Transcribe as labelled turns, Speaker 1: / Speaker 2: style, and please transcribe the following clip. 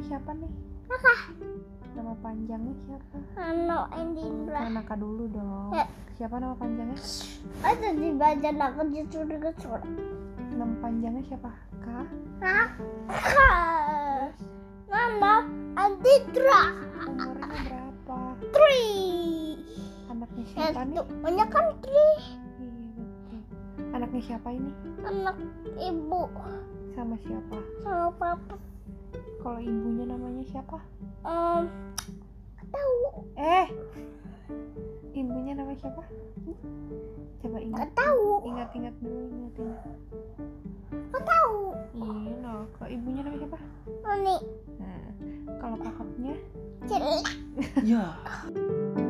Speaker 1: siapa nih? Nama panjangnya siapa?
Speaker 2: Ano Endindra.
Speaker 1: Sama Naka dulu dong.
Speaker 2: Ya.
Speaker 1: Siapa nama panjangnya?
Speaker 2: Ada di badan aku justru kesur.
Speaker 1: Nama panjangnya siapa? K.
Speaker 2: Nama Endindra.
Speaker 1: Umurnya berapa?
Speaker 2: Tri.
Speaker 1: Anaknya siapa nih?
Speaker 2: Itu punya kan Tri.
Speaker 1: Iya betul. Anaknya siapa ini?
Speaker 2: Anak ibu
Speaker 1: Sama siapa?
Speaker 2: sama papa.
Speaker 1: Kalau ibunya namanya siapa?
Speaker 2: Em, nggak tahu.
Speaker 1: Eh, ibunya nama siapa? Coba ingat,
Speaker 2: Nggak tahu.
Speaker 1: ingat-ingat dulu, ingat-ingat.
Speaker 2: Nggak tahu.
Speaker 1: Iya, no. Kalau ibunya nama siapa?
Speaker 2: Ini
Speaker 1: Nah, kalau kakaknya
Speaker 2: cerita.
Speaker 3: Ya.